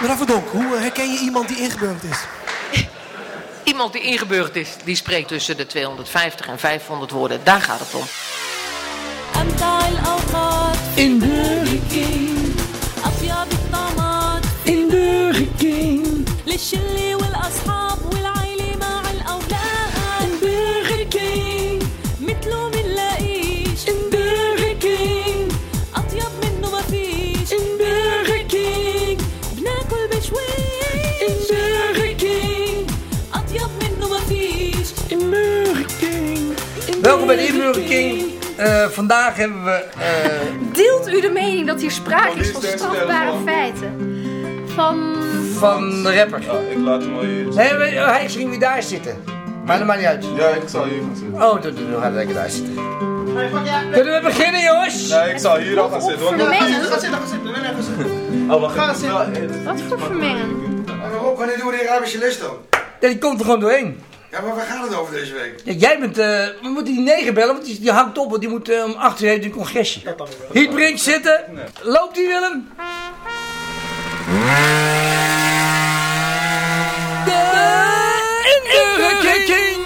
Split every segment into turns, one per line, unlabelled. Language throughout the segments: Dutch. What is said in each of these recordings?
Mevrouw Verdonk, hoe eh, herken je iemand die ingeburgd is?
Iemand die ingeburgd is, die spreekt tussen de 250 en 500 woorden. Daar gaat het om.
أمتع الأوقات
In Burger King,
أطيب الطعمات
in Burger King,
للشلة والأصحاب والعيلة مع الأولاد
in Burger King,
متلو منلاقيش
in Burger King,
أطيب منه مفيش
in Burger King,
بناكل
in
بشويش
Burger King,
أطيب منه مفيش
in Burger King. in
Welkom bij de
Burger
Inburger King. Eh, vandaag hebben we... eh,
Deelt u de mening dat hier sprake is van strafbare feiten? Van...
van de rapper.
Ja, Ah, ik laat hem wel hier.
Nee, we- oh, hij ging weer daar zitten. Maar dat maakt niet uit.
Ja, ik zal hier gaan zitten.
Oh, doe, doe, doe, ga lekker daar zitten. Kunnen we beginnen, jongens?
Nee, ik zal hier al gaan zitten. Want
vermengen?
Ga zitten, ga zitten. Wanneer gaan zitten?
Oh, wacht
Ga
even.
zitten.
Wat voor vermengen?
Maar Rob, wanneer doen we die Arabische les dan?
Ja, die komt er gewoon doorheen.
Ja, maar waar gaat het over deze week?
Ja, jij bent... eh, we moeten die negen bellen, want die, die hangt op. Want die moet eh, om acht uur heeft een congresje. Hier, Brink, zitten. Loopt die, Willem? De Inburger King.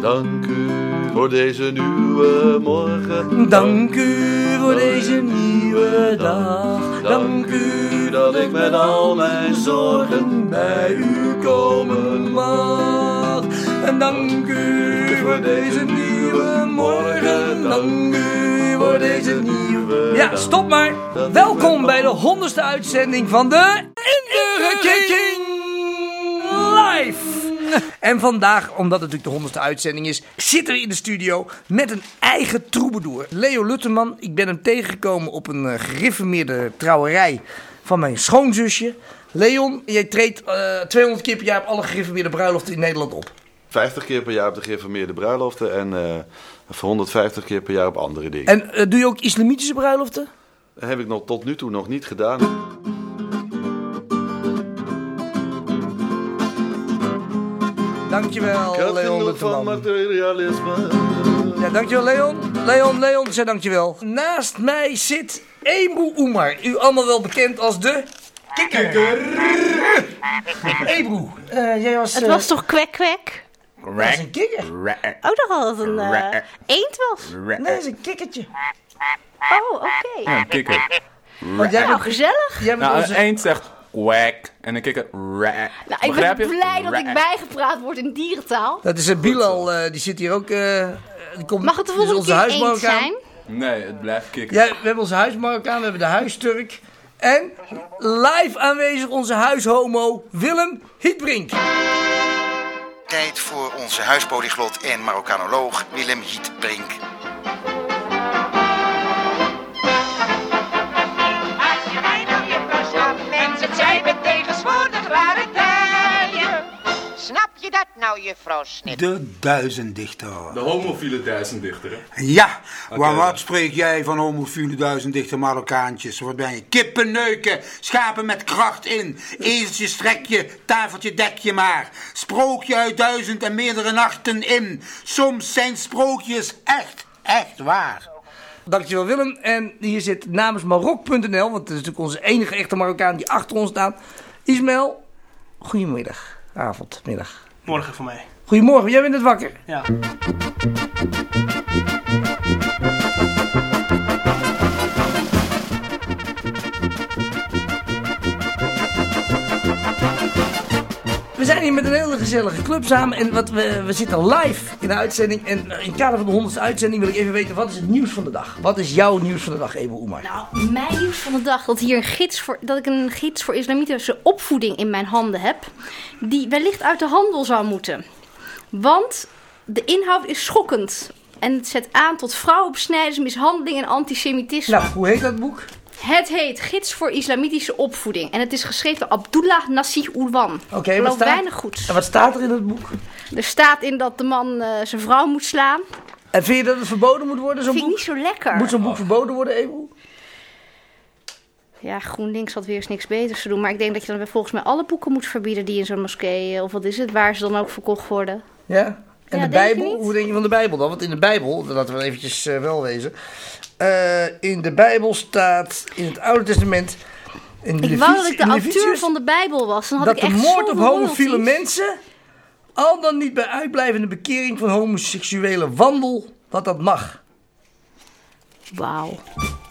Dank u voor deze nieuwe morgen.
Dank u voor deze nieuwe dag.
Dank u dat ik met al mijn zorgen bij u komen mag.
En dank u voor deze nieuwe morgen. Dank u voor deze nieuwe. Ja,
dag.
stop maar.
Dat
Welkom
ik
bij de honderdste uitzending van de Inburgerking Live. En vandaag, omdat het natuurlijk de honderdste uitzending is, zitten we in de studio met een eigen troubadour. Leo Lutterman, ik ben hem tegengekomen op een eh, gereformeerde trouwerij van mijn schoonzusje. Leon, jij treedt eh, 200 keer per jaar op alle gereformeerde bruiloften in Nederland op.
50 keer per jaar op de gereformeerde bruiloften en eh, voor 150 keer per jaar op andere dingen.
En eh, doe je ook islamitische bruiloften?
Dat heb ik nog tot nu toe nog niet gedaan.
Dankjewel, Leon
genoeg van
Lutterman.
materialisme.
Ja, dankjewel Leon. Leon, Leon, zei dankjewel. Naast mij zit Ebru Oemar. U allemaal wel bekend als de... Kikker. Ebru, eh, jij was...
Het was toch kwek kwek?
was een kikker.
Oh, dat had het een eh, eend was.
Nee, dat is een kikkertje.
Oh, oké.
Kikker.
Want jij
Nou,
bent,
gezellig.
jij bent onze...
eh,
eend zegt wack en een kikker rack.
Nou, ik ben blij dat ik bijgepraat word in dierentaal.
Dat is een Bilal, eh, die zit hier ook... eh, die komt,
Mag het de
dit is
volgende
onze
keer
huismarokkaan.
eens zijn?
Nee, het blijft kikker.
Ja, we hebben onze huismarokkaan, we hebben de huisturk. En live aanwezig onze huishomo Willem Hietbrink.
Tijd voor onze huispolyglot en Marokkanoloog Willem Hietbrink.
Als je mij nou je pas snapt, mensen, het zijn we tegenwoordig rare tijden. Snap je dat nou, juffrouw Snip?
De duizenddichter.
De homofiele duizenddichter. hè?
Ja, maar
Oké.
wat spreek jij van homofiele duizenddichter Marokkaantjes? Wat ben je? Kippen neuken, schapen met kracht in, ezeltje strek je, tafeltje dek je maar. Sprookje uit duizend en meerdere nachten in. Soms zijn sprookjes echt, echt waar.
Dankjewel Willem. En hier zit namens Marok.nl, want dat is natuurlijk onze enige echte Marokkaan die achter ons staat. Ismail, goedemiddag, avond, middag.
Morgen voor mij.
Goedemorgen, jij bent net wakker.
Ja.
We zijn hier met een hele gezellige club samen en wat we, we zitten live in de uitzending. En eh, in het kader van de honderdste uitzending wil ik even weten, wat is het nieuws van de dag? Wat is jouw nieuws van de dag, Ebel Oemar?
Nou, mijn nieuws van de dag dat, hier een gids voor, dat ik een gids voor islamitische opvoeding in mijn handen heb. Die wellicht uit de handel zou moeten. Want de inhoud is schokkend. En het zet aan tot vrouwenbesnijders, mishandeling en antisemitisme.
Nou, hoe heet dat boek?
Het heet Gids voor Islamitische Opvoeding. En het is geschreven door Abdullah Nasih Ulwan.
Oké,
Ik
wat
geloof
staat?
weinig goeds.
En wat staat er in dat boek?
Er staat in dat de man eh, zijn vrouw moet slaan.
En vind je dat het verboden moet worden, zo'n
Vind ik
boek?
niet zo lekker.
Moet zo'n boek verboden worden, Emel?
Ja, GroenLinks had weer eens niks beters te doen. Maar ik denk dat je dan weer volgens mij alle boeken moet verbieden die in zo'n moskee... eh, of wat is het, waar ze dan ook verkocht worden.
Ja? En
Ja,
de
denk je
Bijbel?
niet?
Hoe denk je van de Bijbel dan? Want in de Bijbel, laten we eventjes eh, wel wezen. eh, in de Bijbel staat in het Oude Testament. In
Ik wou dat ik de auteur van de Bijbel was. Dan had
dat
ik
de
echt
moord op
zoveel
homofiele
royalties.
mensen. al dan niet bij uitblijvende bekering van homoseksuele wandel. dat dat mag.
Wauw.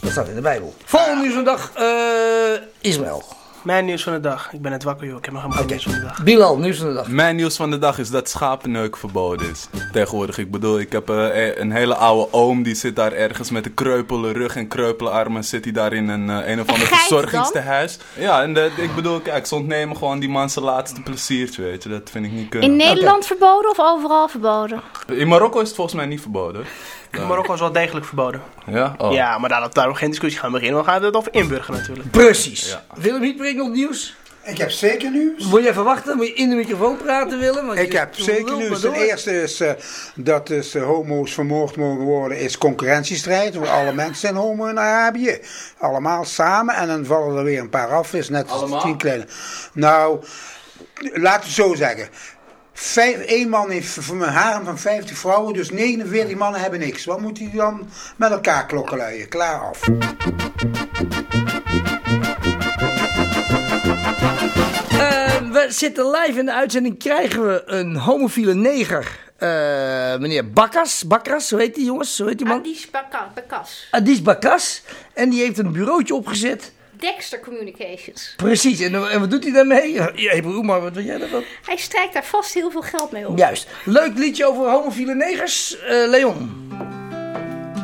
Dat staat in de Bijbel. Volgende nieuws van de dag, eh, Ismaël.
Mijn nieuws van de dag. Ik ben net wakker, joh. Ik heb nog helemaal geen nieuws van de dag.
Bilal, nieuws van de dag.
Mijn nieuws van de dag is dat schapenneuk verboden is. Tegenwoordig, ik bedoel, ik heb eh, eh, een hele oude oom die zit daar ergens met een kreupele rug en kreupele armen. Zit hij daar in een, eh, een of ander
geit
verzorgingstehuis. Ja, en dat- ik bedoel, kijk, ze ontnemen gewoon die man zijn laatste pleziertje, weet je. Dat vind ik niet
In
kunnen.
Nederland verboden of overal verboden?
In Marokko is het volgens mij niet verboden.
In Marokko is wel degelijk verboden.
Ja? Oh.
Ja, maar daar, daar we geen discussie gaan beginnen. We gaan het over inburgeren natuurlijk.
Precies. Willem Hietbrink nog nieuws?
Ik heb zeker nieuws.
Wil je even wachten? Moet je in de microfoon praten, Willem? Want
Ik
je-
heb
je
zeker
lult
nieuws.
maar
Ten
door.
eerste is eh, dat dus eh, homo's vermoord mogen worden, is concurrentiestrijd. Want alle mensen zijn homo in Arabië. Allemaal samen en dan vallen er weer een paar af. Is net als tien kleine. Nou, laten we het zo zeggen. Vijf, één man heeft van een harem van 50 vrouwen, dus 49 mannen hebben niks. Wat moet hij dan met elkaar klokkenluien? Klaar af.
Eh, we zitten live in de uitzending. Krijgen we een homofiele neger. Eh, meneer Bakkas. Bakkas, hoe heet die jongens? Hoe heet die man?
Adis Baka- Bakas.
Adis Bakkas. En die heeft een bureautje opgezet.
Dexter Communications.
Precies. En, en wat doet hij daarmee? Ja, Ebru, maar wat wil jij daarvan?
Hij strijkt daar vast heel veel geld mee op.
Juist. Leuk liedje over homofiele negers. Eh, Leon.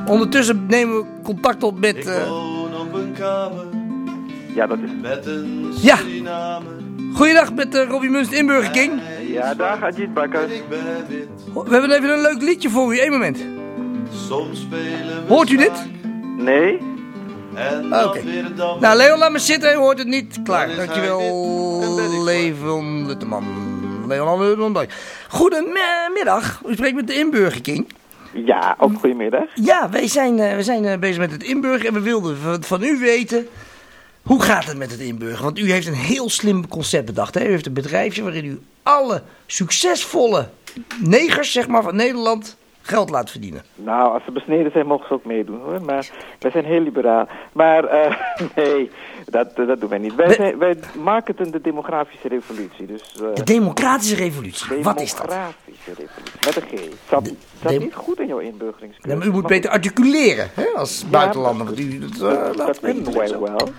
Ondertussen nemen we contact op met...
Ik
eh,
woon op een kamer
Ja, dat is.
met een
Ja.
Suriname.
Goeiedag met eh Robbie Munst in Burger King.
Ja, daar gaat Jit Bakker.
Ik ben wit,
We hebben even een leuk liedje voor u. Eén moment.
soms spelen we
Hoort u dit?
Nee?
zaak En
Ah,
dan
oké.
weer dan
Nou, Leon, laat maar zitten. Hij hoort het niet. Klaar.
Dan is
Dankjewel,
dus hij dit. Dan ben ik klaar.
Leon Lutteman. Leon Lutteman. dank. Goedemiddag. U spreekt met de Inburger King.
Ja, ook goedemiddag.
Ja, wij zijn, eh, we zijn eh, bezig met het inburgen. En we wilden van, van u weten... Hoe gaat het met het inburgen? Want u heeft een heel slim concept bedacht. Hè? U heeft een bedrijfje waarin u alle succesvolle negers zeg maar, van Nederland geld laat verdienen.
Nou, als ze besneden zijn, mogen ze ook meedoen hoor. Maar wij zijn heel liberaal. Maar eh, nee, dat, eh, dat doen wij niet. Wij,
We-
zijn, wij marketen de demografische revolutie. Dus eh,
De democratische revolutie. Wat is dat?
demografische revolutie. Met een G. Zat, zat
dem-
niet goed in jouw inburgeringskunde.
Ja, maar u moet
Maar
beter articuleren hè, als buitenlander. Want u, dat, eh,
dat,
laat
dat
weten.
kunnen wij wel.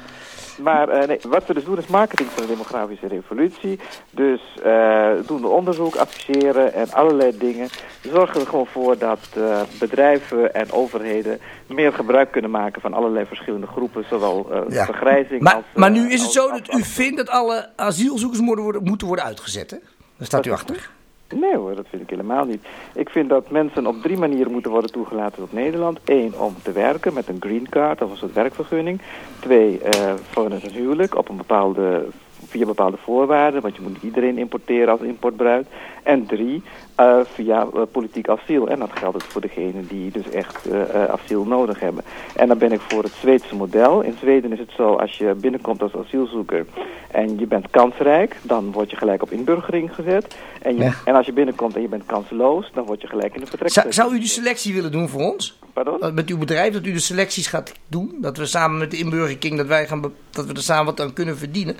Maar eh, nee, wat we dus doen is marketing van de demografische revolutie. Dus eh, doen we onderzoek, adviseren en allerlei dingen. Zorgen er gewoon voor dat eh, bedrijven en overheden meer gebruik kunnen maken van allerlei verschillende groepen. Zowel eh,
Ja.
vergrijzing
maar,
als... eh,
maar nu is het
als-
zo
als-
dat u vindt dat alle asielzoekers moeten worden, moeten worden uitgezet, hè? Daar staat u achter.
Nee hoor, dat vind ik helemaal niet. Ik vind dat mensen op drie manieren moeten worden toegelaten tot Nederland. Eén, om te werken met een green card of een soort werkvergunning. Twee, eh voor een huwelijk op een bepaalde, via bepaalde voorwaarden, want je moet niet iedereen importeren als importbruid. En drie, eh, via eh, politiek asiel. En dat geldt ook voor degenen die dus echt eh, eh, asiel nodig hebben. En dan ben ik voor het Zweedse model. In Zweden is het zo, als je binnenkomt als asielzoeker en je bent kansrijk, dan word je gelijk op inburgering gezet. En, je,
Ja.
en als je binnenkomt en je bent kansloos, dan word je gelijk in de vertrek.
Zou, zou u de selectie willen doen voor ons?
Pardon?
Dat Met uw bedrijf, dat u de selecties gaat doen? Dat we samen met de Inburger King, dat, wij gaan be- dat we er samen wat aan kunnen verdienen?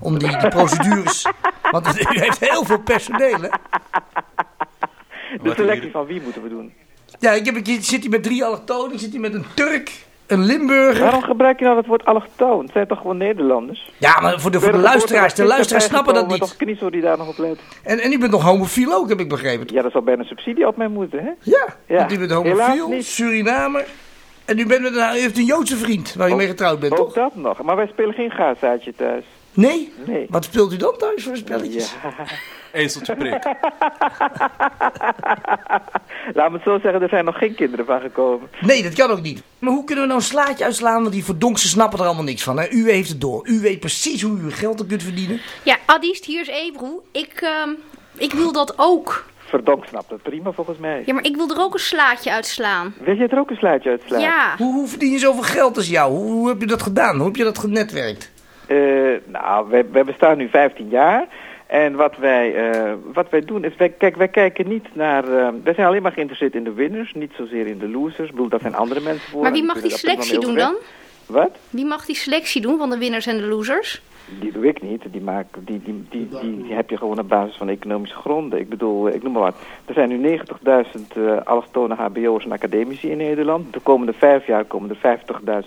Om die, die procedures... Want u heeft heel veel personeel, hè?
de
Wat
selectie
hier-
van wie moeten we doen?
Ja, ik, heb, ik zit hier met drie allochtonen, ik zit hier met een Turk, een Limburger...
Waarom gebruik je nou dat woord allochtoon? Het zijn toch gewoon Nederlanders?
Ja, maar voor de, voor de luisteraars, de luisteraars snappen dat niet.
oh, toch kniezel die daar nog op let.
En, en u bent nog homofiel ook, heb ik begrepen.
Ja, daar zou bijna subsidie op mij moeten, hè?
Ja,
Ja,
want u bent
helaas
homofiel,
niet.
Surinamer. En u, bent met een, u heeft een Joodse vriend
Oh.
waar u mee getrouwd bent,
Ook
toch?
dat nog. Maar wij spelen geen gazaatje thuis.
Nee?
Nee.
Wat speelt u dan thuis voor spelletjes?
Ezeltje prik.
Laat me het zo zeggen, er zijn nog geen kinderen van gekomen.
Nee, dat kan ook niet. Maar hoe kunnen we nou een slaatje uitslaan? Want die verdonksen snappen er allemaal niks van. Hè? U heeft het door. U weet precies hoe u uw geld er kunt verdienen.
Ja, Adis, hier is Ebru. Ik, ehm, ik wil dat ook.
Verdonk snapt dat prima volgens mij.
Ja, maar ik wil er ook een slaatje uitslaan.
Wil jij er ook een slaatje uitslaan?
Ja.
Hoe, hoe verdien je zoveel geld als jou? Hoe, hoe heb je dat gedaan? Hoe heb je dat genetwerkt?
Eh, nou, wij, wij bestaan nu 15 jaar. En wat wij, eh, wat wij doen is, wij, kijk, wij kijken niet naar... eh, wij zijn alleen maar geïnteresseerd in de winners, niet zozeer in de losers. Ik bedoel, dat zijn andere mensen voor.
Maar
en
wie
die
mag die
kunnen daar prima
selectie doen
mee
dan?
overweg. Wat?
Wie mag die selectie doen van de winners en de losers?
Die doe ik niet. Die, maak, die, die, die, die, die heb je gewoon op basis van economische gronden. Ik bedoel, eh, ik noem maar wat. Er zijn nu 90.000 eh allochtone hbo's en academici in Nederland. De komende vijf jaar komen er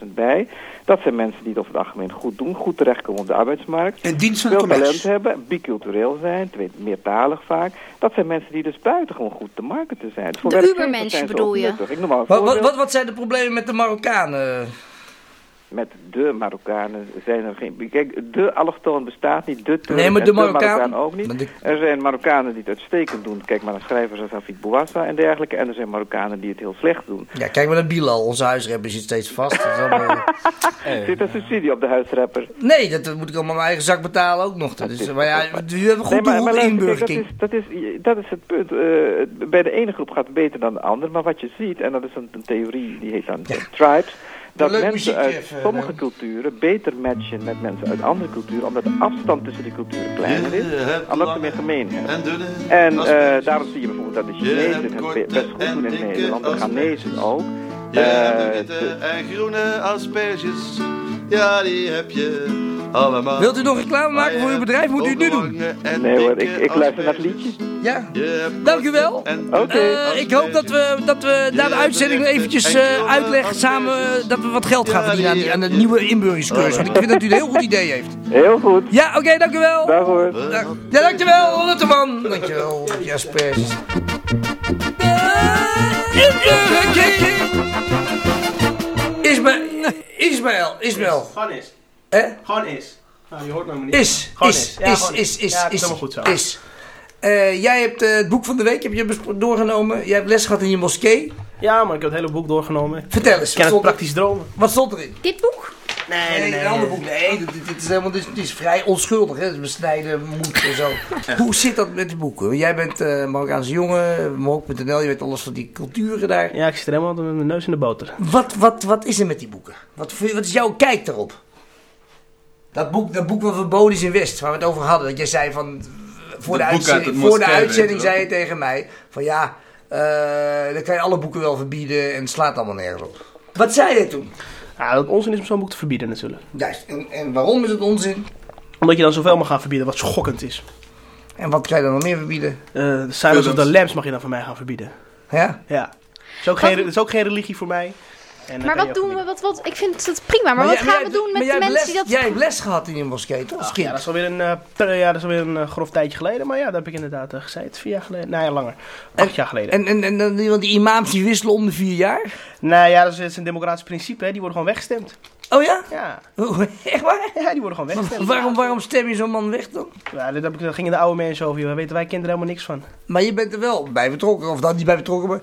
50.000 bij. Dat zijn mensen die het over het algemeen goed doen. Goed terechtkomen op de arbeidsmarkt.
En dienst van de
veel talent
commerce.
hebben, bicultureel zijn, twee- meertalig vaak. Dat zijn mensen die dus buitengewoon goed te marketen zijn. Voor
De
werkgevers
Ubermenschen
zijn ze
bedoel je?
ook nuttig. Ik noem maar een
Wat, wat,
voorbeeld.
wat, wat zijn de problemen met de Marokkanen?
Met de Marokkanen zijn er geen... Kijk, de allochtoon bestaat niet, de Turk
Nee, maar
en
de Marokkaan-
ook niet. Er zijn Marokkanen die het uitstekend doen. Kijk maar naar schrijvers als Hafid Bouassa en dergelijke. En er zijn Marokkanen die het heel slecht doen.
Ja, kijk maar naar Bilal. Onze huisrapper zit steeds vast. Dat is allemaal-
Zit er subsidie op de huisrapper?
Nee, dat moet ik allemaal mijn eigen zak betalen ook nog. Dus, maar ja, we hebben goed de hoed
luister, kijk,
inburgering.
dat, is, dat, is, dat is het punt. Eh, het- bij de ene groep gaat het beter dan de andere. Maar wat je ziet, en dat is een, een theorie die heet dan tribes... dat
Leuk
mensen
muziekje
uit
even,
sommige
Leon.
culturen beter matchen met mensen uit andere culturen... omdat de afstand tussen die culturen kleiner is, omdat ze meer gemeen hebben. En eh, daarom zie je bijvoorbeeld dat de Chinezen het be- best goed doen in Nederland, de Ghanese ook.
Je hebt
Eh,
witte en groene asperges, ja die heb je allemaal.
Wilt u nog reclame maken voor uw bedrijf? Moet u het nu doen.
Nee hoor, ik, ik luister naar het liedje.
Ja, dank u wel. Eh, ik hoop dat we, dat we na de uitzending eventjes eh uitleggen samen eh, dat we wat geld gaan verdienen aan, die, aan het nieuwe inburgeringscursus. Want ik vind dat u een heel goed idee heeft.
Heel goed.
Ja, oké, dank u wel.
Dag hoor.
Ja, dankjewel, Lutterman. Dankjewel, Jasper. Inburgering! Isma Ismaël, Ismaël.
Gewoon is.
Hè?
Gewoon is. Nou, je hoort mij maar niet.
Is,
Gewoon
is,
Ja,
is,
gewoon
is, is,
Ja, dat is
is,
helemaal goed zo.
is. Eh, jij hebt eh, het boek van de week heb je besp- doorgenomen. Jij hebt les gehad in je moskee.
Ja, maar ik heb het hele boek doorgenomen.
Vertel eens.
Ik ken
wat
het
stond er-
praktisch dromen.
Wat stond erin?
Dit boek?
Nee, nee,
een ander boek. Nee, dit, dit- dit is helemaal dit, dit is vrij onschuldig. Hè? Het Besnijden, moed en zo. Hoe zit dat met de boeken? Jij bent eh Marokkaanse jongen, Marok.nl, je weet alles van die culturen daar.
Ja, ik zit er helemaal met mijn neus in de boter.
Wat, wat, wat is er met die boeken? Wat, vind- wat is jouw kijk daarop? Dat boek, dat boek wat verboden is in West, waar we het over hadden. Dat jij zei van. Voor de,
Dat boek uit
uitzending,
het
voor de
moskee, weet
uitzending
je wel.
zei je tegen mij: van ja, eh, dan kan je alle boeken wel verbieden en het slaat allemaal nergens op. Wat zei je toen?
Ja, dat het onzin is om zo'n boek te verbieden natuurlijk.
Juist, en, en waarom is het onzin?
Omdat je dan zoveel mag gaan verbieden wat schokkend is.
En wat kan je dan nog meer verbieden?
Eh, de Silence of the Lambs mag je dan van mij gaan verbieden.
Ja?
Ja. Is ook geen, is ook geen religie voor mij. En dat
maar
kan
wat
je ook
doen we? Wat, wat, ik vind het prima, maar, wat
jij-
gaan
maar
we
jij-
doen met
maar
de
jij hebt
mensen
les-
die dat...
Jij hebt les gehad in je moskee, toch? Als
Ach, ja,
kind?
dat is alweer een, eh, per- ja, dat is alweer een eh, grof tijdje geleden. Maar ja, dat heb ik inderdaad eh, gezegd. Vier jaar geleden. Nou ja, langer. Acht jaar geleden.
En, en, en, dan die- want die imams die wisselen om de vier jaar?
nou ja, dat is, dat is een democratisch principe. Hè. Die worden gewoon weggestemd.
Oh ja?
Ja.
Echt waar?
Ja, die worden gewoon weggestemd.
Waarom, waarom stem je zo'n man weg dan?
Ja, dat, heb ik, dat gingen de oude mensen over. joh. Daar weten wij kinderen helemaal niks van.
Maar je bent er wel bij betrokken, of dan niet bij betrokken. Maar,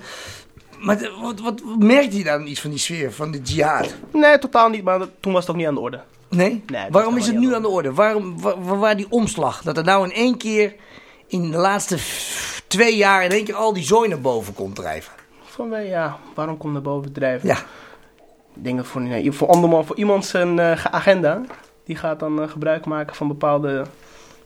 maar de- wat, wat merkt hij dan iets van die sfeer, van de jihad?
Nee, totaal niet. Maar dat- toen was het ook niet aan de orde.
Nee?
Nee, dat
Waarom
helemaal
is het
niet
nu aan de orde? Waarom, wa- wa- waar, die omslag? Dat er nou in één keer, in de laatste f- twee jaar, in één keer al die zooi naar boven komt drijven.
Van wij, eh, ja, waarom komt naar boven drijven?
Ja.
Ik denk dat voor, nee, voor, andermaal, voor iemand zijn eh, agenda, die gaat dan eh, gebruik maken van bepaalde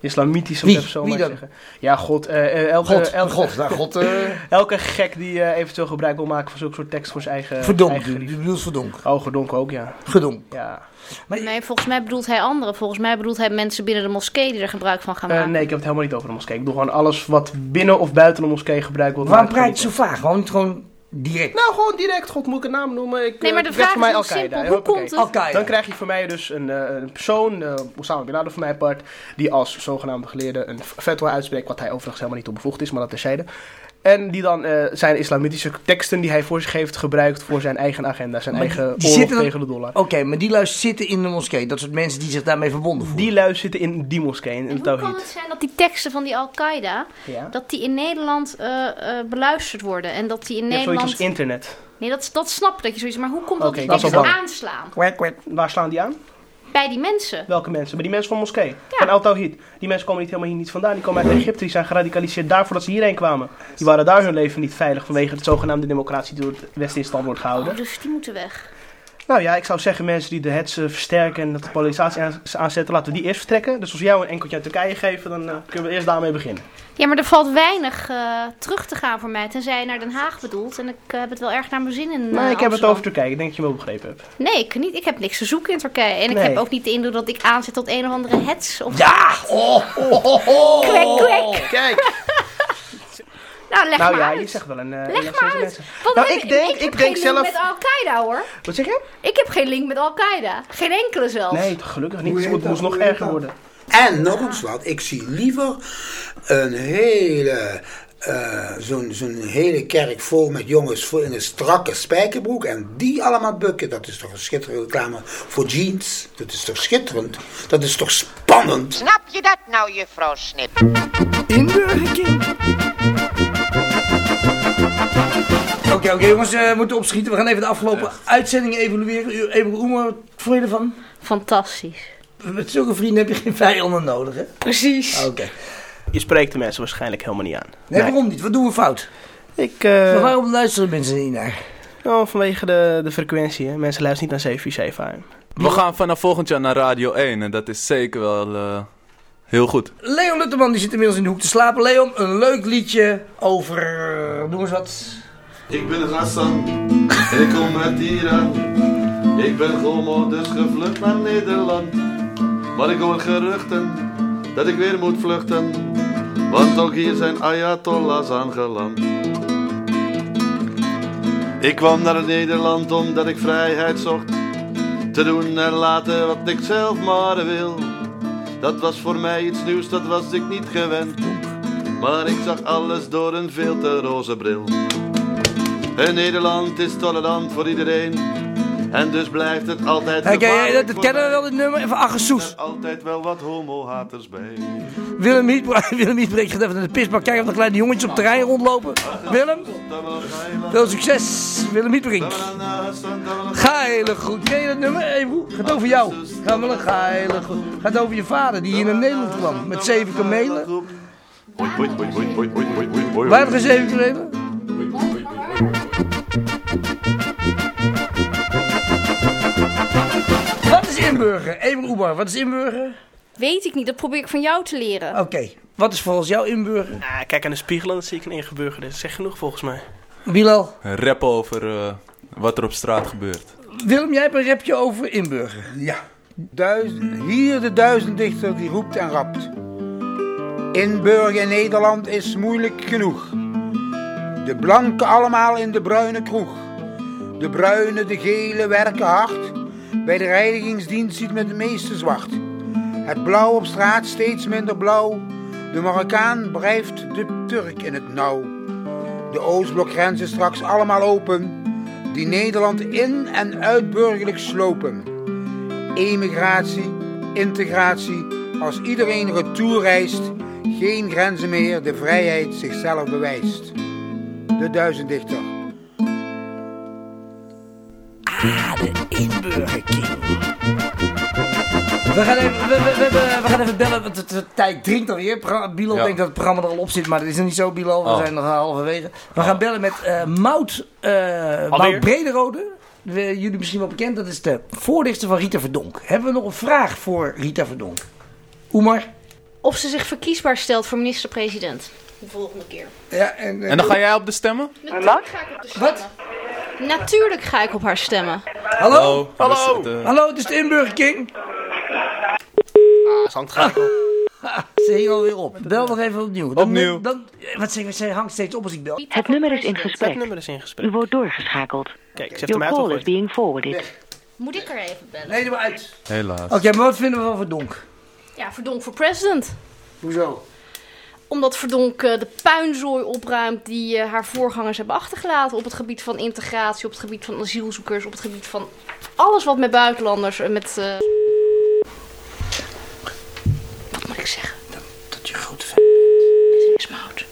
islamitische,
Wie?
om het even zo
Wie
maar te
dan?
zeggen. Ja, God. eh, eh, elke,
God,
elke,
God, nou, God, eh.
elke gek die eh, eventueel gebruik wil maken van zulke soort tekst voor zijn eigen...
Verdonk,
eigen
je
gerief.
bedoelt verdonk.
Eh, Oh, gedonken ook, ja.
Gedonk.
ja.
Nee, volgens mij bedoelt hij anderen. Volgens mij bedoelt hij mensen binnen de moskee die er gebruik van gaan
Eh,
maken.
nee, ik heb het helemaal niet over de moskee. Ik bedoel gewoon alles wat binnen of buiten de moskee gebruikt wordt.
Waarom praat je zo vaag? Waarom niet gewoon direct?
Nou, gewoon direct. God, moet ik een naam noemen? Ik,
Nee, maar
eh,
de
werd
vraag
voor mij
is heel
Al-Qaeda.
simpel.
hè.
Hoe
Hoppakee.
komt het?
Al-Qaeda.
Dan krijg je van mij dus een, eh, een persoon, eh Osama Bin Laden voor mij part, die als zogenaamde geleerde een fatwa uitspreekt, wat hij overigens helemaal niet onbevoegd is, maar dat terzijde. En die dan eh, zijn islamitische teksten die hij voor zich heeft gebruikt voor zijn eigen agenda, zijn
Maar die-
eigen
die
oorlog
zitten dan-
tegen de dollar.
Oké, maar die luisteren zitten in de moskee. Dat soort mensen die zich daarmee verbonden voelen.
Die lui zitten in die moskee, in het
Hoe kan
Tawhid.
het zijn dat die teksten van die Al-Qaeda,
Ja.
dat die in Nederland eh, eh, beluisterd worden? En dat die in
Je hebt zoiets
Nederland...
als internet.
Nee, dat, dat snap ik, dat je zoiets... Maar hoe komt dat
Oké,
die
dat is
teksten
wel
aanslaan?
Waar slaan die aan?
Bij die mensen.
Welke mensen? Bij die mensen van moskee. Van Al-Tawhid. Die mensen komen niet helemaal hier niet vandaan. Die komen uit Egypte. Die zijn geradicaliseerd daarvoor dat ze hierheen kwamen. Die waren daar hun leven niet veilig vanwege de zogenaamde democratie die door het Westen in stand wordt gehouden.
Oh, dus die moeten weg.
Nou ja, ik zou zeggen mensen die de hetsen versterken en dat de polarisatie aan- aanzetten, laten we die eerst vertrekken. Dus als we jou een enkeltje uit Turkije geven, dan eh, kunnen we eerst daarmee beginnen.
Ja, maar er valt weinig eh, terug te gaan voor mij, tenzij je naar Den Haag bedoelt. En ik eh, heb het wel erg naar mijn zin in. eh,
Maar ik heb het
Amsterdam.
over Turkije. Ik denk dat je me wel begrepen hebt.
Nee, ik, niet, ik heb niks te zoeken in Turkije. En ik
Nee.
heb ook niet de indruk dat ik aanzet tot een of andere hets. Of
Ja!
Ah,
Oh, oh, oh, oh.
Kwek, kwek.
Kijk.
Nou, leg
nou
maar
ja,
uit.
je zegt wel een... eh,
Leg
een
maar
zes
uit.
mensen.
Want
nou,
heb
ik denk,
heb
ik denk
geen link
zelf...
met Al-Qaeda hoor.
Wat zeg je?
Ik heb geen link met Al-Qaeda. Geen enkele zelfs.
Nee, toch gelukkig niet. Dus
Hoe
Het
heet
moet- moest
dat?
nog erger worden.
En nog eens wat, ik zie liever een hele, eh, zo'n, zo'n hele kerk vol met jongens voor in een strakke spijkerbroek en die allemaal bukken. Dat is toch een schitterende reclame voor jeans. Dat is toch schitterend? Dat is toch spannend?
Snap je dat nou, juffrouw Snip?
Inburgerkind. Oké, oké jongens, eh, we moeten opschieten. We gaan even de afgelopen uitzendingen evalueren. U- Even Oemer, wat vond je ervan?
Fantastisch.
Met zulke vrienden heb je geen vijanden nodig, hè?
Precies.
Oké.
Je spreekt de mensen waarschijnlijk helemaal niet aan.
Nee, waarom niet? Wat doen we fout?
Ik, eh,
Maar waarom luisteren mensen niet naar?
Nou, vanwege de, de frequentie. Hè. Mensen luisteren niet naar 747.
We gaan vanaf volgend jaar naar Radio 1 en dat is zeker wel eh, heel goed.
Leon Lutterman die zit inmiddels in de hoek te slapen. Leon, een leuk liedje over... eh, Noem eens wat.
Ik ben Hassan, ik kom uit Iran. Ik ben homo, dus gevlucht naar Nederland. Maar ik hoor geruchten dat ik weer moet vluchten. Want ook hier zijn ayatollahs aangeland. Ik kwam naar Nederland omdat ik vrijheid zocht. Te doen en laten wat ik zelf maar wil. Dat was voor mij iets nieuws, dat was ik niet gewend. Maar ik zag alles door een veel te roze bril. En Nederland is tolerant voor iedereen. En dus blijft het altijd
Hey, ken jij
gevaarlijk
dat,
voor
dat kennen we
mij.
wel, dit nummer? Even Agasoes.
Er altijd wel wat homo-haters bij.
Willem Hiet, Willem Hiet breekt even naar de pisbak. Kijk of er kleine jongetjes op het terrein rondlopen. Willem, veel succes. Willem Hietbrink. Geile goed. Ken je dat nummer? Hey, broer, gaat over jou. Gaat wel een geile goed. Gaat over je vader die hier naar Nederland kwam. Met zeven kamelen.
Oei, oei, oei, oei, oei, oei, oei, oei, oei.
Waar hebben we zeven kamelen? Wat is inburger? Even Oebar, wat is inburger?
Weet ik niet, dat probeer ik van jou te
Oh.
leren.
Oké, wat is volgens jou inburger?
Ah, kijk aan de spiegel en dan zie ik een ingeburgerde. Dat is echt genoeg volgens mij.
Bilal,
Rap over eh, wat er op straat gebeurt.
Willem, jij hebt een rapje over inburger.
Ja. Duizend, hier de duizenddichter die roept en rapt. Inburgen in Nederland is moeilijk genoeg. De blanken allemaal in de bruine kroeg. De bruine, de gele werken hard. Bij de reinigingsdienst ziet men de meeste zwart. Het blauw op straat steeds minder blauw. De Marokkaan blijft de Turk in het nauw. De Oostblokgrenzen straks allemaal open. Die Nederland in- en uitburgerlijk slopen emigratie, integratie. Als iedereen retour reist, geen grenzen meer, de vrijheid zichzelf bewijst. De duizenddichter.
We gaan even, we, we, we, we- we gaan even bellen, want het- het tijd dringt alweer. Pro- Bilal
Ja.
denkt dat het programma er al op zit, maar dat is nog niet zo, Bilal. We
Oh.
zijn nog halverwege. We gaan bellen met eh Mout, eh Mout Brederode. We- jullie misschien wel bekend, dat is de voorlichter van Rita Verdonk. Hebben we nog een vraag voor Rita Verdonk? Oemar?
Of ze zich verkiesbaar stelt voor minister-president. De volgende keer.
Ja, en, eh,
En dan ga jij op de stemmen?
Natuurlijk ga ik op haar stemmen. Natuurlijk ga ik op haar stemmen.
Hallo?
Hallo. We zitten-
Hallo, het is de Inburger King.
Ah, ze hangt gelijk op.
Ze hing alweer op. Bel nog even opnieuw. Dan-
Opnieuw.
Dan, eh, wat zeg ik, ze hangt steeds op als ik bel.
Het nummer is in
Het
gesprek.
nummer is in gesprek.
U wordt doorgeschakeld.
Kijk, ze heeft
Your
hem
call is
uitgegooid.
being forwarded.
Moet ik er even bellen?
Nee, doe maar uit.
Helaas.
Oké, maar wat vinden we van Verdonk?
Ja, Verdonk voor president.
Hoezo?
Omdat Verdonk eh, de puinzooi opruimt die eh, haar voorgangers hebben achtergelaten. Op het gebied van integratie, op het gebied van asielzoekers, op het gebied van alles wat met buitenlanders en met. eh, Wat moet ik zeggen?
Dat je grote fan
Dit is Mout.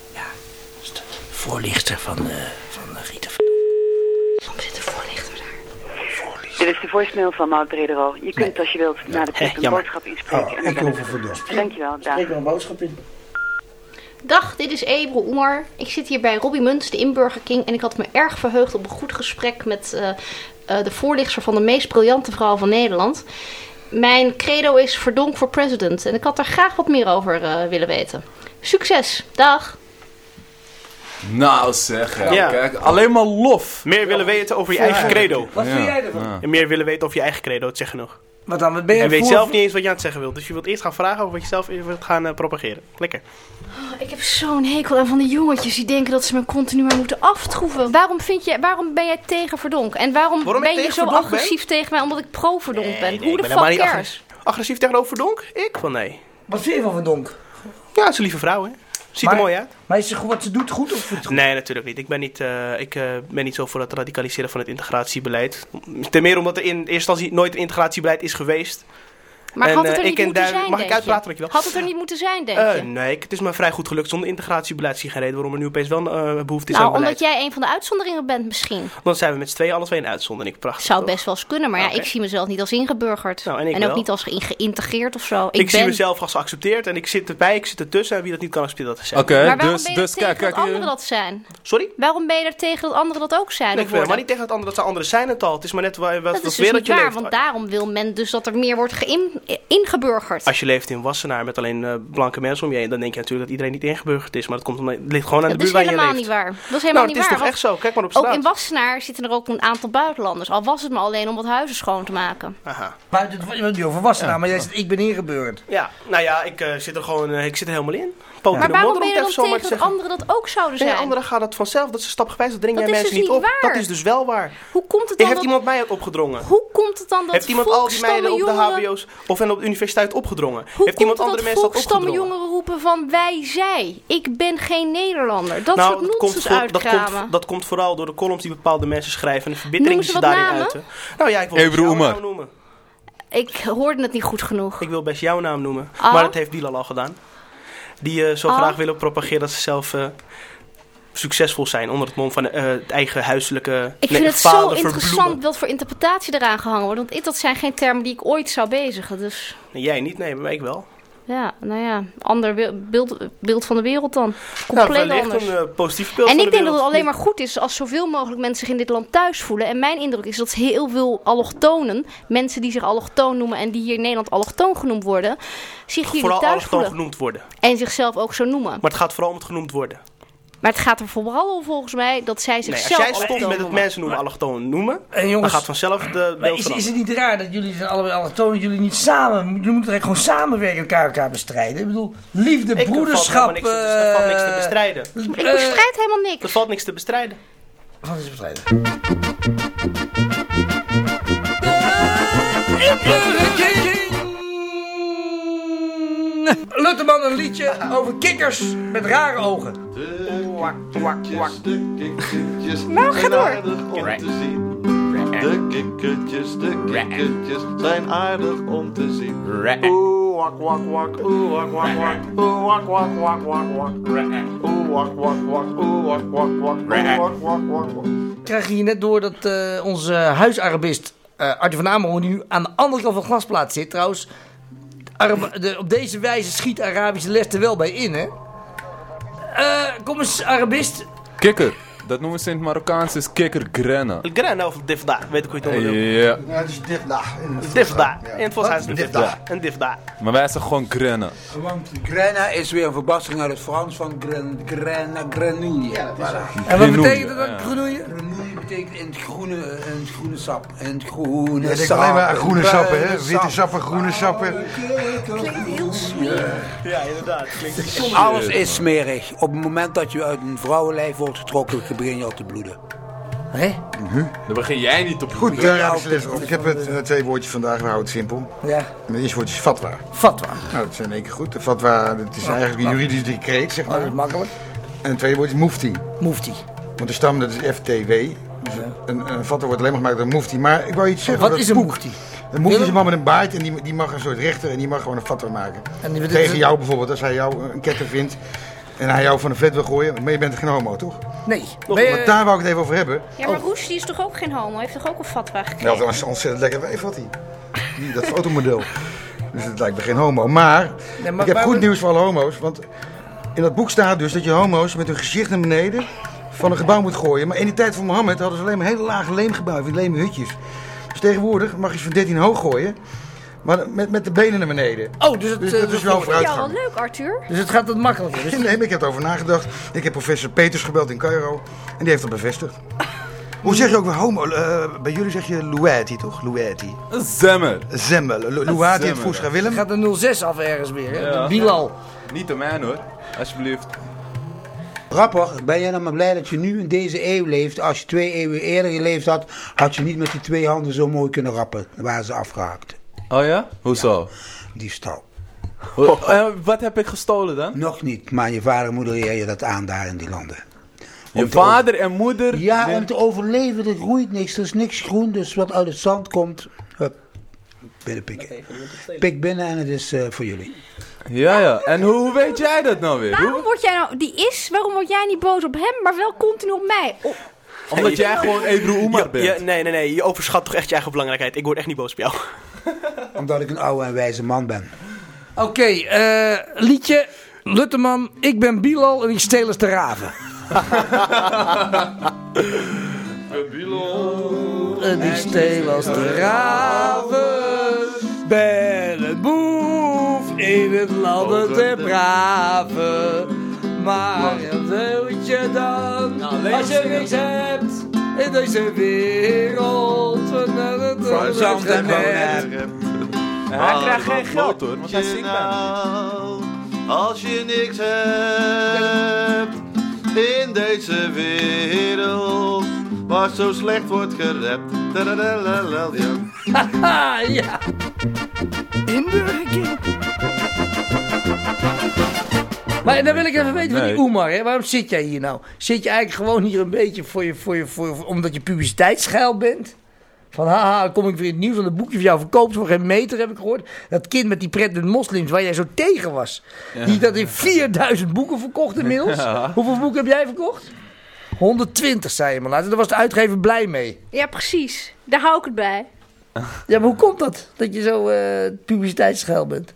voorlichter van, eh van eh, Rita Verdonk.
Soms zit er voorlichter daar.
De
is de voicemail van Maud Bredero. Je kunt als je wilt na de
Hè,
piep een
jammer. Oh,
boodschap inspreken. en dan
ik
bellen
wil
we
voor
terug. Dankjewel, Daan.
Ik wil een boodschap in.
Dag, dit is Ebro Oemer. Ik zit hier bij Robbie Munster in Burger King en ik had me erg verheugd op een goed gesprek met eh, eh, de voorlichter van de meest briljante vrouw van Nederland. Mijn credo is verdonk voor president en ik had daar graag wat meer over eh, willen weten. Succes, dag.
Nou zeg, hè.
Ja.
kijk, alleen maar lof.
Meer willen weten over je
Ja.
eigen credo.
Wat vind Ja. jij ervan? Ja.
En meer willen weten over je eigen credo, het zeg genoeg.
Wat dan? Wat ben je
en weet
voor-
zelf niet eens wat je aan het zeggen wilt. Dus je wilt eerst gaan vragen over wat je zelf wilt gaan eh, propageren. Lekker.
Oh, ik heb zo'n hekel aan van die jongetjes die denken dat ze me continu maar moeten aftroeven. Waarom, vind je, waarom ben jij tegen verdonk? En waarom,
Waarom ik
ben je
tegen
zo
verdonk ben?
agressief tegen mij omdat ik pro-verdonk ben?
Nee,
Hoe
ik
de fuck
ben helemaal niet
cares?
agressief. Agressief tegenover Verdonk? Ik van nee.
Wat vind je van Verdonk?
Ja, ze is een lieve vrouw, hè? Ziet
Maar-
er mooi uit.
Maar is ze, wat ze doet goed of vindt ze-
Nee, natuurlijk niet. Ik ben niet, eh, ik, eh, ben niet zo voor het radicaliseren van het integratiebeleid. Ten meer omdat er in eerste instantie nooit een integratiebeleid is geweest.
Maar
En,
had het er
eh,
niet
ik en
moeten
Duim-
zijn,
Mag
denk
ik
je?
uitpraten met je wel?
Had het er niet moeten zijn, denk
Eh,
je?
nee, ik- het is me vrij goed gelukt zonder integratiebeleid. Zie geen reden waarom er nu opeens wel een eh, behoefte is
nou,
aan beleid.
omdat jij een van de uitzonderingen bent misschien.
Dan zijn we met z'n tweeën alle twee een uitzondering. Prachtig.
Zou
toch?
best wel eens kunnen, maar ja,
Oké.
ik zie mezelf niet als ingeburgerd.
Nou, en ik
en ook
wel.
niet als ge- geïntegreerd of zo.
Ik,
Ik,
zie
ben...
mezelf als geaccepteerd en ik zit erbij, ik zit ertussen. En wie dat niet kan accepteren, dat is zij.
maar waarom
dus-
dus,
ben je er tegen dat anderen
eh,
dat zijn?
Sorry?
Waarom ben je er tegen dat anderen dat ook zijn?
eh, Nee,
of
ik wil helemaal
worden?
niet tegen dat anderen, dat zijn anderen zijn het al. Het is maar net wat,
dat
wat voor
is dus niet
wereld je
waar,
leeft.
want daarom wil men dus dat er meer wordt geïn- ingeburgerd.
Als je leeft in Wassenaar met alleen eh, blanke mensen om je heen, dan denk je natuurlijk dat iedereen niet ingeburgerd is. Maar dat komt omdat het ligt gewoon aan de
dat is
buurt waar je
helemaal
leeft.
niet waar. Dat is helemaal
nou, het
niet
is
waar.
toch
want
echt zo? Kijk maar op
Ook
straat.
in Wassenaar zitten er ook een aantal buitenlanders. Al was het maar alleen om wat huizen schoon te maken.
Aha.
Buiten het wat je over was nou, maar jij zegt ik ben ingebeurd.
Ja, nou ja, ik eh, zit er gewoon, eh, ik zit er helemaal in. Poot in
Maar
de
waarom
modder,
ben je
om het
dan
even zo maar
tegen
te
dat
zeggen.
anderen dat ook zouden
Nee,
zijn?
anderen gaan dat vanzelf. Dat ze stapgewijs, dat dring
Dat
jij
is
mensen
dus
niet op.
niet waar.
Dat is dus wel waar.
Hoe komt het dan
Heeft
dat-
iemand mij het opgedrongen?
Hoe komt het dan dat
Heeft iemand al die meiden op de
volksstammen jongeren-
hbo's of en op de universiteit opgedrongen?
Hoe
Heeft iemand
komt
andere
het dat
mensen dat
volksstammen
opgedrongen?
jongeren roepen van wij, zij? Ik ben geen Nederlander. Dat
nou,
soort
dat komt,
nonsens
voor- dat,
uitkramen.
komt, dat komt vooral door de columns die bepaalde mensen schrijven en de verbittering
Noemen ze
die
wat
ze daarin
namen?
uiten. Nou ja, ik wil
Ebru
best jouw
Oemer.
naam noemen.
Ik hoorde het niet goed genoeg.
Ik wil best jouw naam noemen.
Ah.
Maar dat heeft Bilal al gedaan. Die eh, zo
Ah.
graag willen propageren dat ze zelf eh, succesvol zijn onder het mom van eh, het eigen huiselijke
Ik
nee,
vind het zo
falen
interessant
verbloemen.
wat voor interpretatie eraan gehangen wordt. Want ik- dat zijn geen termen die ik ooit zou bezigen. Dus
Nee, jij niet, nee, maar ik wel.
ja, nou ja, ander we- beeld, beeld van de wereld dan.
Nou,
Compleet
wellicht
anders.
een eh, positief beeld
en
van
ik
de
denk dat het
wereld.
alleen maar goed is als zoveel mogelijk mensen zich in dit land thuis voelen. En mijn indruk is dat heel veel allochtonen, mensen die zich allochtoon noemen en die hier in Nederland allochtoon genoemd worden, zich hier
Vooral
niet thuis
allochtoon
voelen.
genoemd worden.
En zichzelf ook zo noemen.
Maar het gaat vooral om het genoemd worden.
Maar het gaat er vooral om volgens mij dat zij
Nee, als
zichzelf
jij
allochtoon
stopt met het
noemen.
mensen noemen allochtoon noemen,
jongens,
dan gaat vanzelf de
Maar
beeld
is, is
veranderen.
het niet raar dat jullie zijn allebei allochtonen, jullie niet samen, jullie moeten eigenlijk gewoon samenwerken en elkaar, elkaar bestrijden? Ik bedoel, liefde,
Ik- er valt
broederschap.
helemaal niks te- er valt niks te
eh,
bestrijden.
Ik bestrijd helemaal niks.
Er valt niks te bestrijden.
Wat is bestrijden? Lutterman een liedje over kikkers met rare ogen.
kikkertjes.
Nou, ga
zijn
door.
aardig om te zien. De kikkertjes, de kikkertjes zijn aardig om te zien. Oeh, wak, wak, wak, oeh, wak, wak, wak. Oeh, wak, wak, wak, wak, wak. Oeh, wak, wak, wak, oeh, wak, wak, wak. Oeh, wak, wak, wak, wak.
Krijg je hier net door dat eh, onze huisarabist eh Arjen van Amerongen, die nu aan de andere kant van de glasplaat zit trouwens. Arab- de- op deze wijze schiet Arabische les er wel bij in, hè? Eh, kom eens, Arabist.
Kikker. Dat noemen ze in het Marokkaans is kikker grenne.
Gran of divda, weet ik hoe je het noemt.
Ja.
Ja, het is divda. Divda. In het Volkshuis is het divda.
Divda.
Een divda.
Maar wij zeggen gewoon grenne.
Want grena is weer een verbastering uit het Frans van gren, grena, grenouille.
En wat betekent dat dan, Ja.
grenouille? Grenouille betekent in het groene, in het groene sap. In het groene
Ja, ik denk
sap.
alleen maar aan groene sappen, hè?
Bruine
Witte
sap.
sappen, groene sappen.
Klinkt heel smerig.
Ja, inderdaad. Klinkt
Alles is smerig. Op het moment dat je uit een vrouwenlijf wordt getrokken, begin je al te bloeden.
Hé?
Dan begin jij niet op
Goed, eh, Arabische les. Ik heb het, eh, twee woordjes vandaag, we houden het simpel.
Ja.
En het eerste woord is fatwa.
Fatwa.
Nou, dat is in één keer goed. De fatwa, dat is
Ja,
eigenlijk een
nou. Oh.
juridisch decreet,
Oh,
zeg maar.
dat is makkelijk.
En het tweede woord is mufti.
Mufti.
Want de stam, dat is FTW. Dus een, een fatwa wordt alleen maar gemaakt door mufti. Maar ik wil iets zeggen
Wat
over
is
dat
een
boek.
mufti?
Een mufti is een man met een baard en die, die mag een soort rechter en die mag gewoon een fatwa maken.
En die-
Tegen jou bijvoorbeeld, als hij jou een ketter vindt. en hij jou van de flat wil gooien, maar je bent geen homo, toch?
Nee.
Ben je-
Want daar wou ik het even over hebben.
Ja, maar Roes die is toch ook geen homo? Heeft toch ook een fatwa gekregen?
Nou, dat was een ontzettend lekker wijf had hij. Die- Dat fotomodel. Dus het lijkt me geen homo. Maar,
Nee, maar
ik heb
waarom-
goed nieuws voor alle homo's. Want in dat boek staat dus dat je homo's met hun gezicht naar beneden van een gebouw moet gooien. Maar in die tijd van Mohammed hadden ze alleen maar hele lage leemgebouwen, van die leem hutjes. Dus tegenwoordig mag je ze van 13 hoog gooien, maar met, met de benen naar beneden.
Oh, dus het, eh,
dat is wel een
Ja,
vooruitgang.
wel leuk Arthur.
Dus het gaat wat makkelijker.
Nee, maar ik heb erover nagedacht. Ik heb professor Peters gebeld in Cairo en die heeft dat bevestigd. Hoe zeg je ook weer homo? Eh, bij jullie zeg je Luati toch? Luati.
Zemmer.
Zemmel. Lu- Luati in
Zemmer.
Fusca Willem.
Gaat een 06 af ergens weer, hè?
Ja.
Bilal.
Niet de man hoor, alsjeblieft.
Grappig, ben jij nou maar blij dat je nu in deze eeuw leeft. Als je twee eeuwen eerder geleefd had, had je niet met die twee handen zo mooi kunnen rappen. Dan waren ze afgehaakt.
Oh ja? Hoezo?
Diefstal.
wat heb ik gestolen dan?
Nog niet, maar je vader en moeder leer je dat aan daar in die landen.
Je
te over-
vader en moeder.
Ja,
Nee.
om te overleven, er groeit niks. Er is niks groen, dus wat uit het zand komt, hup, binnen pikken. Pik binnen en het is eh, voor jullie.
Ja, ja. En hoe, hoe weet jij dat nou weer?
Waarom word jij nou, die is, waarom word jij niet boos op hem, maar wel continu op mij? Oh,
Omdat jij gewoon Ebru Oemar
bent. nee, nee, nee. Je overschat toch echt je eigen belangrijkheid. Ik word echt niet boos op jou.
Omdat ik een oude en wijze man ben.
Oké, eh, liedje. Lutteman, ik ben Bilal en ik steel eens de raven. En ik steel als de raven. Ben een boef in het land der braven. Maar wat wil je dan als je niks hebt in deze wereld? Van het
Van zand en
net.
Hij krijgt geen geld hoor, want hij
je
zingt
nou als je niks hebt in deze wereld waar zo slecht wordt gerept? Tadadadadadad, ja.
Haha, Ah, ja. In Burger King. Maar dan wil ik even weten van die
Nee.
Oemar, hè? waarom zit jij hier nou? Zit je eigenlijk gewoon hier een beetje voor je, voor je, voor je- omdat je publiciteitsgeil bent? Van haha, kom ik weer in het nieuws, want een boekje van jou verkoopt voor geen meter, heb ik gehoord. Dat kind met die pret met moslims, waar jij zo tegen was.
Ja.
Die dat in 4000 boeken verkocht inmiddels.
Ja.
Hoeveel boeken heb jij verkocht? 120, zei je maar later. Daar was de uitgever blij mee.
Ja, precies. Daar hou ik het bij.
Ja, maar hoe komt dat? Dat je zo eh publiciteitsgeil bent?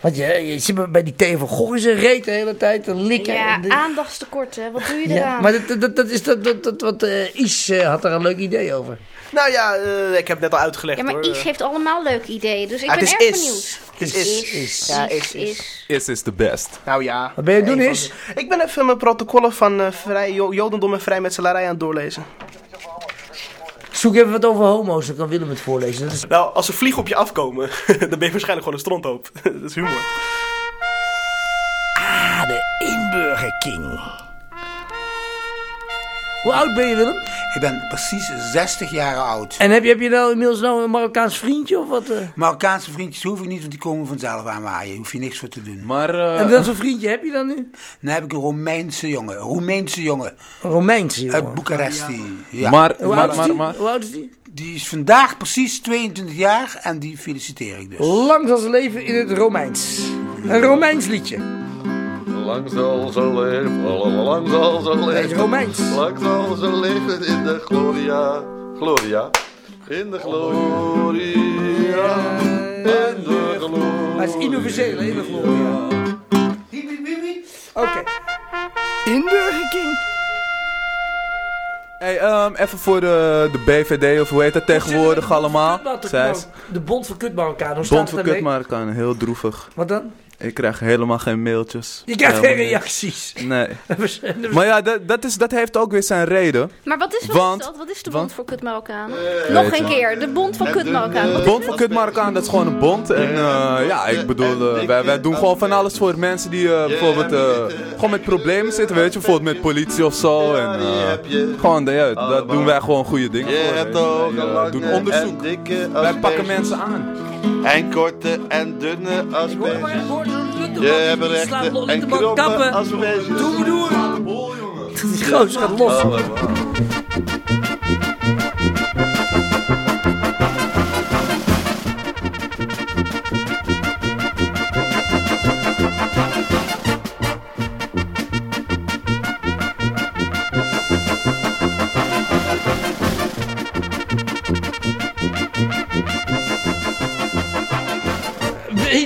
Want je, je zit maar bij die Theo van Gogh in zijn reet de hele tijd te likken.
Ja,
en dit-
aandachtstekort, hè. Wat doe je
Ja,
eraan?
maar dat, dat, dat is dat, dat, dat wat eh, Is eh, had daar een leuk idee over.
Nou ja, eh, ik heb het net al uitgelegd
Ja, maar
hoor.
Is heeft allemaal leuke ideeën, dus ik
Ah,
ben
het
erg
is is.
benieuwd.
Het is is. Ja, is, is.
Is is the best.
Nou ja.
Wat ben je aan het doen
Eén
is?
van de- Ik ben even mijn protocollen van eh, vrij, Jo- Jodendom en vrijmetselarij aan het doorlezen.
Zoek even wat over homo's, dan kan Willem het voorlezen. Dat is-
Nou, als ze vliegen op je afkomen, dan ben je waarschijnlijk gewoon een stronthoop. dat is humor.
Ah, de Inburger King. Hoe oud ben je, Willem?
Ik ben precies 60 jaar oud.
En heb je, heb je nou inmiddels nou een Marokkaans vriendje of wat? eh?
Marokkaanse vriendjes hoef ik niet, want die komen vanzelf aanwaaien. Daar hoef je niks voor te doen.
Maar,
En dat soort vriendje heb je dan nu?
Dan Nou, heb ik een Romeinse jongen. Een Roemeense jongen.
Romeinse jongen? Ah,
Uit Boekaresti. Ja.
Maar-
Hoe oud is die? Hoe oud is die?
Die is vandaag precies 22 jaar en die feliciteer ik dus.
Lang zal ze leven in het Romeins. Een Romeins liedje.
Lang zal ze leven, lang zal ze
Nee, het is
leven.
Romeins.
Lang zal ze leven in de gloria, gloria. In de gloria, in de gloria.
Maar het is universeel, hè, in de gloria. Oké. In Burger King.
Hey, ehm, even voor de, de BVD of hoe heet dat tegenwoordig allemaal? Zij is
De Bond van Kut Marokkaan, hoe
bond
staat
voor
het daarmee?
kutmarkan, heel droevig.
Wat dan?
Ik krijg helemaal geen mailtjes.
Je krijgt geen
Helemaal niet.
reacties.
Nee. Maar ja, dat, dat, is, dat heeft ook weer zijn reden.
Maar wat is, wat
Want-
is dat? Wat is de
want-
Bond voor Kut Marokkanen? Nog
weet
een
je.
keer, de Bond van Kut Marokkanen.
De
Wat
Bond van Kut Marokkaan, dat is gewoon een bond. En eh, ja, ik bedoel, eh, wij, wij doen gewoon van alles voor mensen die eh, bijvoorbeeld eh, gewoon met problemen zitten, weet je. Bijvoorbeeld met politie of zo. En, eh, gewoon, ja, daar doen wij gewoon goede dingen
Je
voor.
hebt
weet je.
ook
Wij,
een
eh,
lange
doen onderzoek.
en dikke
Wij pakken mensen aan.
En korte en dunne asperges. Je hebt rechte en
man
kromme
kappen.
asperges.
Doe maar door. Die gozer gaat los.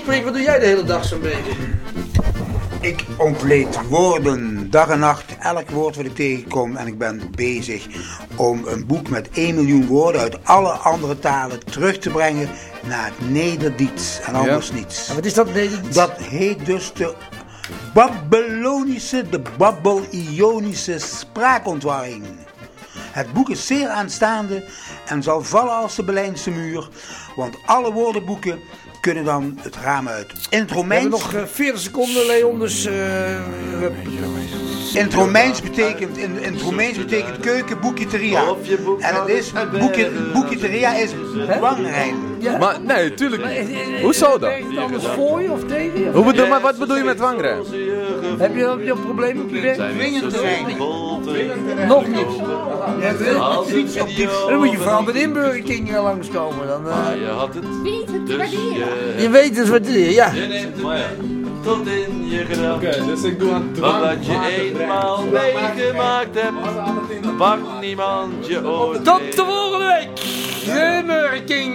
Prik, wat doe jij de hele dag zo'n beetje?
Ik ontleed woorden, dag en nacht, elk woord wat ik tegenkom. En ik ben bezig om een boek met 1 miljoen woorden uit alle andere talen terug te brengen naar het Nederdiets en anders
Ja.
niets.
wat is dat Nederdiets?
Dat heet dus de Babylonische, de Babbel-Ionische spraakontwarring. Het boek is zeer aanstaande en zal vallen als de Berlijnse muur, want alle woordenboeken kunnen dan het raam uit. In het
We hebben
Romeins
nog eh, 40 seconden, Leon, dus... eh,
in het Romeins betekent, in, in het Romeins betekent keuken boekiteria. En het is, boekje- boekiteria is belangrijk.
Maar nee, tuurlijk niet. Hoe zou dat?
Werkt het anders voor je of tegen je?
Hoe bedoel, maar wat bedoel je met wangrijm?
Heb je heb je een probleem op je werk?
Dwingend terrein.
Nog niet. Ja,
Als een
dat- Dan moet je vooral met inburgering eh, langskomen. Dan, eh.
Maar je had het.
Weet het
Dus
waarderen.
Je weet het wat je, ja.
Je neemt maar ja. Tot in je gedachten. Oké,
dus ik doe aan
Wat
dwang
dat je
maken
eenmaal
brengen.
meegemaakt hebt, pakt niemand je ooit.
Tot de volgende week! Inburgering!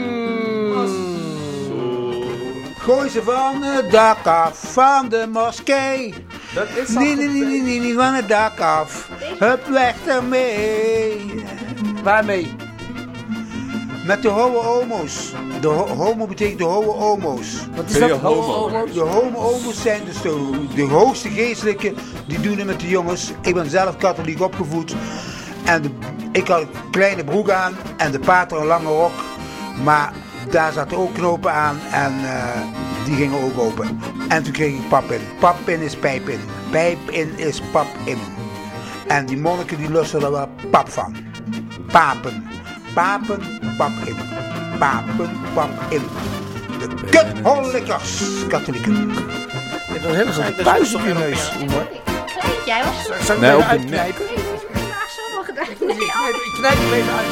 Gooi ze van het dak af, van de moskee. Dat is nee, nee, nee, nee, nee, nee, van het dak af. Hup, weg ermee.
Waarmee?
Met de homo homo's. De ho- homo betekent de homo homo's. Wat
is Ben je dat? homo? Homo
De homo homo's zijn dus de, de hoogste geestelijke. Die doen het met de jongens. Ik ben zelf katholiek opgevoed. En de- ik had een kleine broek aan en de pater een lange rok. Maar daar zaten ook knopen aan en eh, die gingen ook open. En toen kreeg ik pap in. Pap in is pijp in. Pijp in is pap in. En die monniken die lusten er wel pap van. Papen. Papen, pap in. Papen, pap in. De kuthollikers, katholieken.
Je hebt een hele grote puist op je neus.
Weet jij was het?
Zou ik
Nee,
nee,
op de
uitknijpen? Ik knijp hem even uit.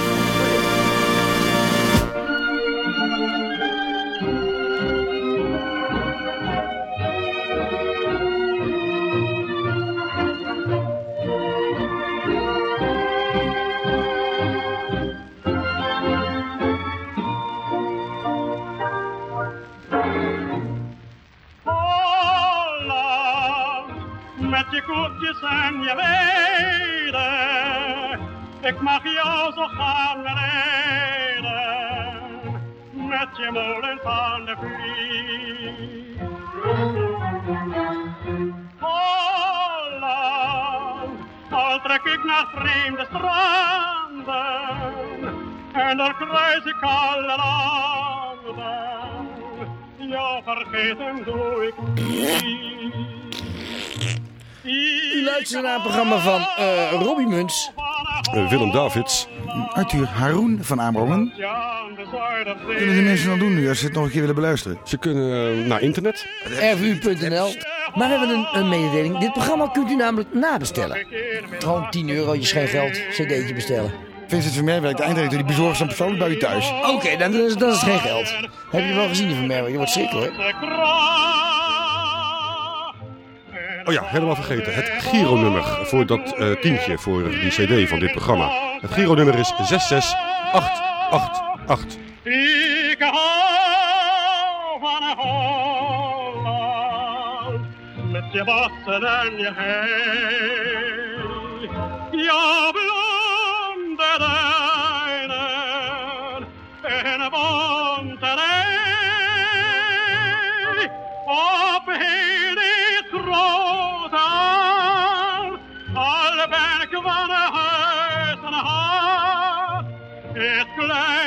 met je koekjes en je leden. Ik mag jou zo gaan beneden, met je molen van de vlieg. Holland, al trek ik naar vreemde stranden, en daar kruis ik alle landen. Jou vergeten doe ik
U luistert naar een programma van eh Robbie Muns.
Willem Davids. Arthur Haroun van Amerongen. Wat kunnen die mensen dan doen nu als ze het nog een keer willen beluisteren? Ze kunnen naar internet.
rvu.nl. Maar we hebben een, een mededeling. Dit programma kunt u namelijk nabestellen. Gewoon 10 euro, je is geen geld. CD'tje bestellen.
Vincent Vermeer werkt de eindredacteur. Die bezorgt ze dan persoonlijk bij u thuis.
Oké, dan, is, dan is het geen geld. Heb je wel gezien van Merwe? Je wordt schrik hoor.
Oh ja, helemaal vergeten. Het Giro-nummer voor dat eh, tientje, voor die cd van dit programma. Het Giro-nummer is 66888.
Ik hou van Holland, met je bossen en je hei. Je blonde duinen en bonterij. Op heel dit grote aal, al ben ik van huis en hart. Het kleine